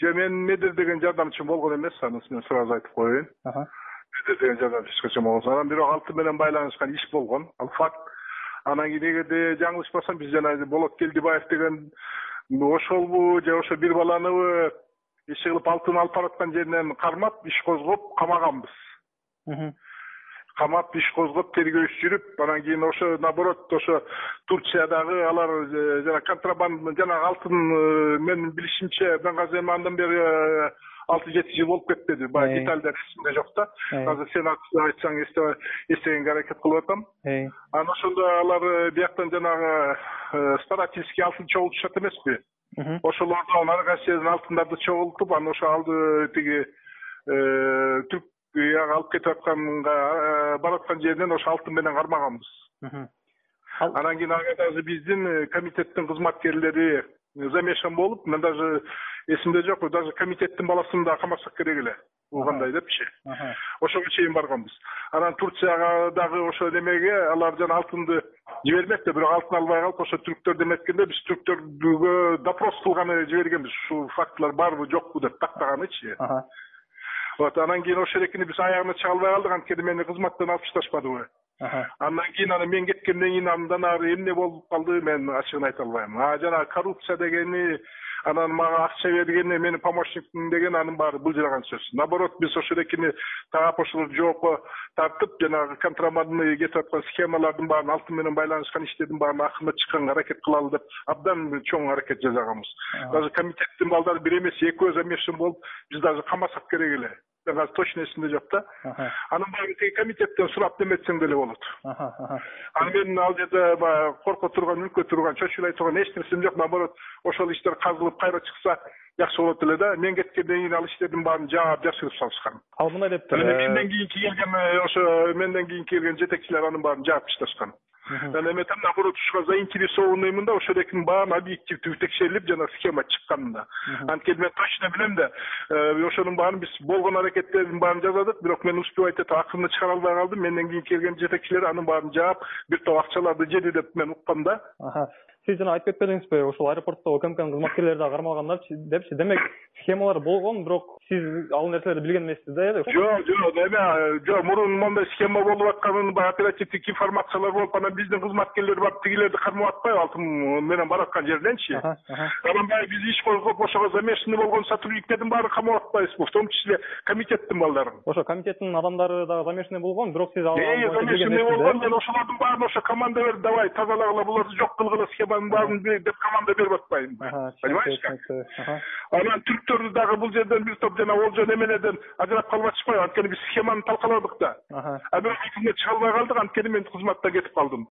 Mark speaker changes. Speaker 1: же менин медер деген жардамчым болгон эмес анысын мен сразу айтып коеюн
Speaker 2: аха
Speaker 1: медер деген жардамчы эч качан болгон анан бирок алтын менен байланышкан иш болгон ал факт анан кийин эгерде жаңылышпасам биз жанагы болот келдибаев деген ошолбу же ошо бир баланыбы иши кылып алтын алып бараткан жеринен кармап иш козгоп камаганбыз
Speaker 2: мхм
Speaker 1: камап иш козгоп тергөө иши жүрүп анан кийин ошо наоборот ошо турциядагы алар э, жана контрабанда жанагы алтын э, менин билишимче мен азыр эми андан бери э, алты жети жыл болуп кетти деди баягы
Speaker 2: Э.
Speaker 1: детальдер эсимде жок да
Speaker 2: Э.
Speaker 1: азыр сен ак- айтсаң эстебай- эстегенге аракет кылып атам
Speaker 2: эй
Speaker 1: анан ошондо алар э, бияктан жанагы э, старательский алтын чогултушат эмеспи
Speaker 2: мхм
Speaker 1: ошол ордон ар кайсы жерден алтындарды чогултуп анан ошо алды тиги э, түрк ягы алып кетип атканга э, бараткан жеринен ошо алтын менен кармаганбыз
Speaker 2: мхм
Speaker 1: анан кийин ага дагы биздин э, комитеттин кызматкерлери замешан болуп мен даже эсимде жок даже комитеттин баласын да камашсак керек эле угандай депчи
Speaker 2: аха
Speaker 1: ошого чейин барганбыз анан турцияга дагы ошо немеге алар жана алтынды жибермекти бирок алтын албай калып ошо түрктөр деметкенде биз түрктөргө допрос кылганы жибергенбиз ушул фактылар барбы жокпу деп тактаганычы
Speaker 2: аха
Speaker 1: вот анан кийин ошол экини биз аягына чыга албай калдык анткени мени кызматтан алып ташташпадыбы
Speaker 2: аха
Speaker 1: андан кийин анан мен кеткенден кийин андан ары эмне болуп калды мен ачыгын айта албайм а жанагы коррупция дегени анан мага акча бергени мени помощниктин деген анын баары былжыраган сөз наоборот биз ошол экини таап ошол жоокко тартып жанагы контрабандный кетип аткан схемалардын баарын алтын менен байланышкан иштердин баарын акырындап чыкканга аракет кылалы деп абдан чоң аракет жасаганбыз
Speaker 2: Ага.
Speaker 1: даже комитеттин балдары бир эмес экөө замешан болуп биз даже камасак керек эле мен азыр точно эсимде жок да
Speaker 2: аха
Speaker 1: анан баягы тиги комитеттен сурап деметсең деле болот
Speaker 2: аха аха
Speaker 1: анан мен ал жерде баягы корко турган мүлкө турган чөчүлөй турган эч нерсем жок наоборот ошол иштер казылып кайра чыкса жакшы болот эле да мен кеткенден кийин ал иштердин баарын жаап жашырып салышкан
Speaker 2: ал мындай деп
Speaker 1: анан
Speaker 2: э,
Speaker 1: менден кийинки келген э, ошо менден кийин келген жетекчилер анын баарын жаап ташташкан
Speaker 2: мгм.
Speaker 1: мен эми айтам наоборот ушуга заинтересованныймын да ошол экинин баарын объективдүү текшерилип жана схема чыкканын да анткени мен точно билем да э, ошонун баарын биз болгон аракеттердин баарын жазадык бирок мен успевать этип акырында чыгара албай калдым менден кийин келген жетекчилер анын баарын жаап бир топ акчаларды жеди деп мен уккам да
Speaker 2: аха сиз жана айтып кетпедиңизби ушул аэропортто укмкнын кызматкерлери дагы кармагандарчы депчи демек схемалар болгон бирок сиз ал нерселерди билген эмессиз да эле
Speaker 1: жок жок эме жок мурун моундай схема болуп атканын баягы оперативдик информациялар болуп анан биздин кызматкерлер барып тигилерди кармап атпайбы алтын менен бараткан жерденчи
Speaker 2: аха аха
Speaker 1: анан баягы биз иш козгоп ошого замешанный болгон сотрудниктердин баарын камап атпайбызбы в том числе комитеттин балдарын
Speaker 2: ошо комитеттин адамдары дагы замешанный болгон бирок сиз ал-
Speaker 1: э
Speaker 2: ал боюнча билген
Speaker 1: замешанный болгон
Speaker 2: эмессиз
Speaker 1: жана ошолордун баарын ошо команда берип давай тазалагыла буларды жок кылгыла схеманын баарын бер- деп команда берип атпайбы
Speaker 2: да аха
Speaker 1: понимаешь как
Speaker 2: түшүнүктүү, түшүнүктүү. аха
Speaker 1: анан түрктөрдү дагы бул жерден бир топ жана олжо немелерден ажырап калып атышпайбы анткени биз схеманы талкаладык да
Speaker 2: аха
Speaker 1: а бирок акырындап чыга албай калдык анткени мен кызматтан кетип калдым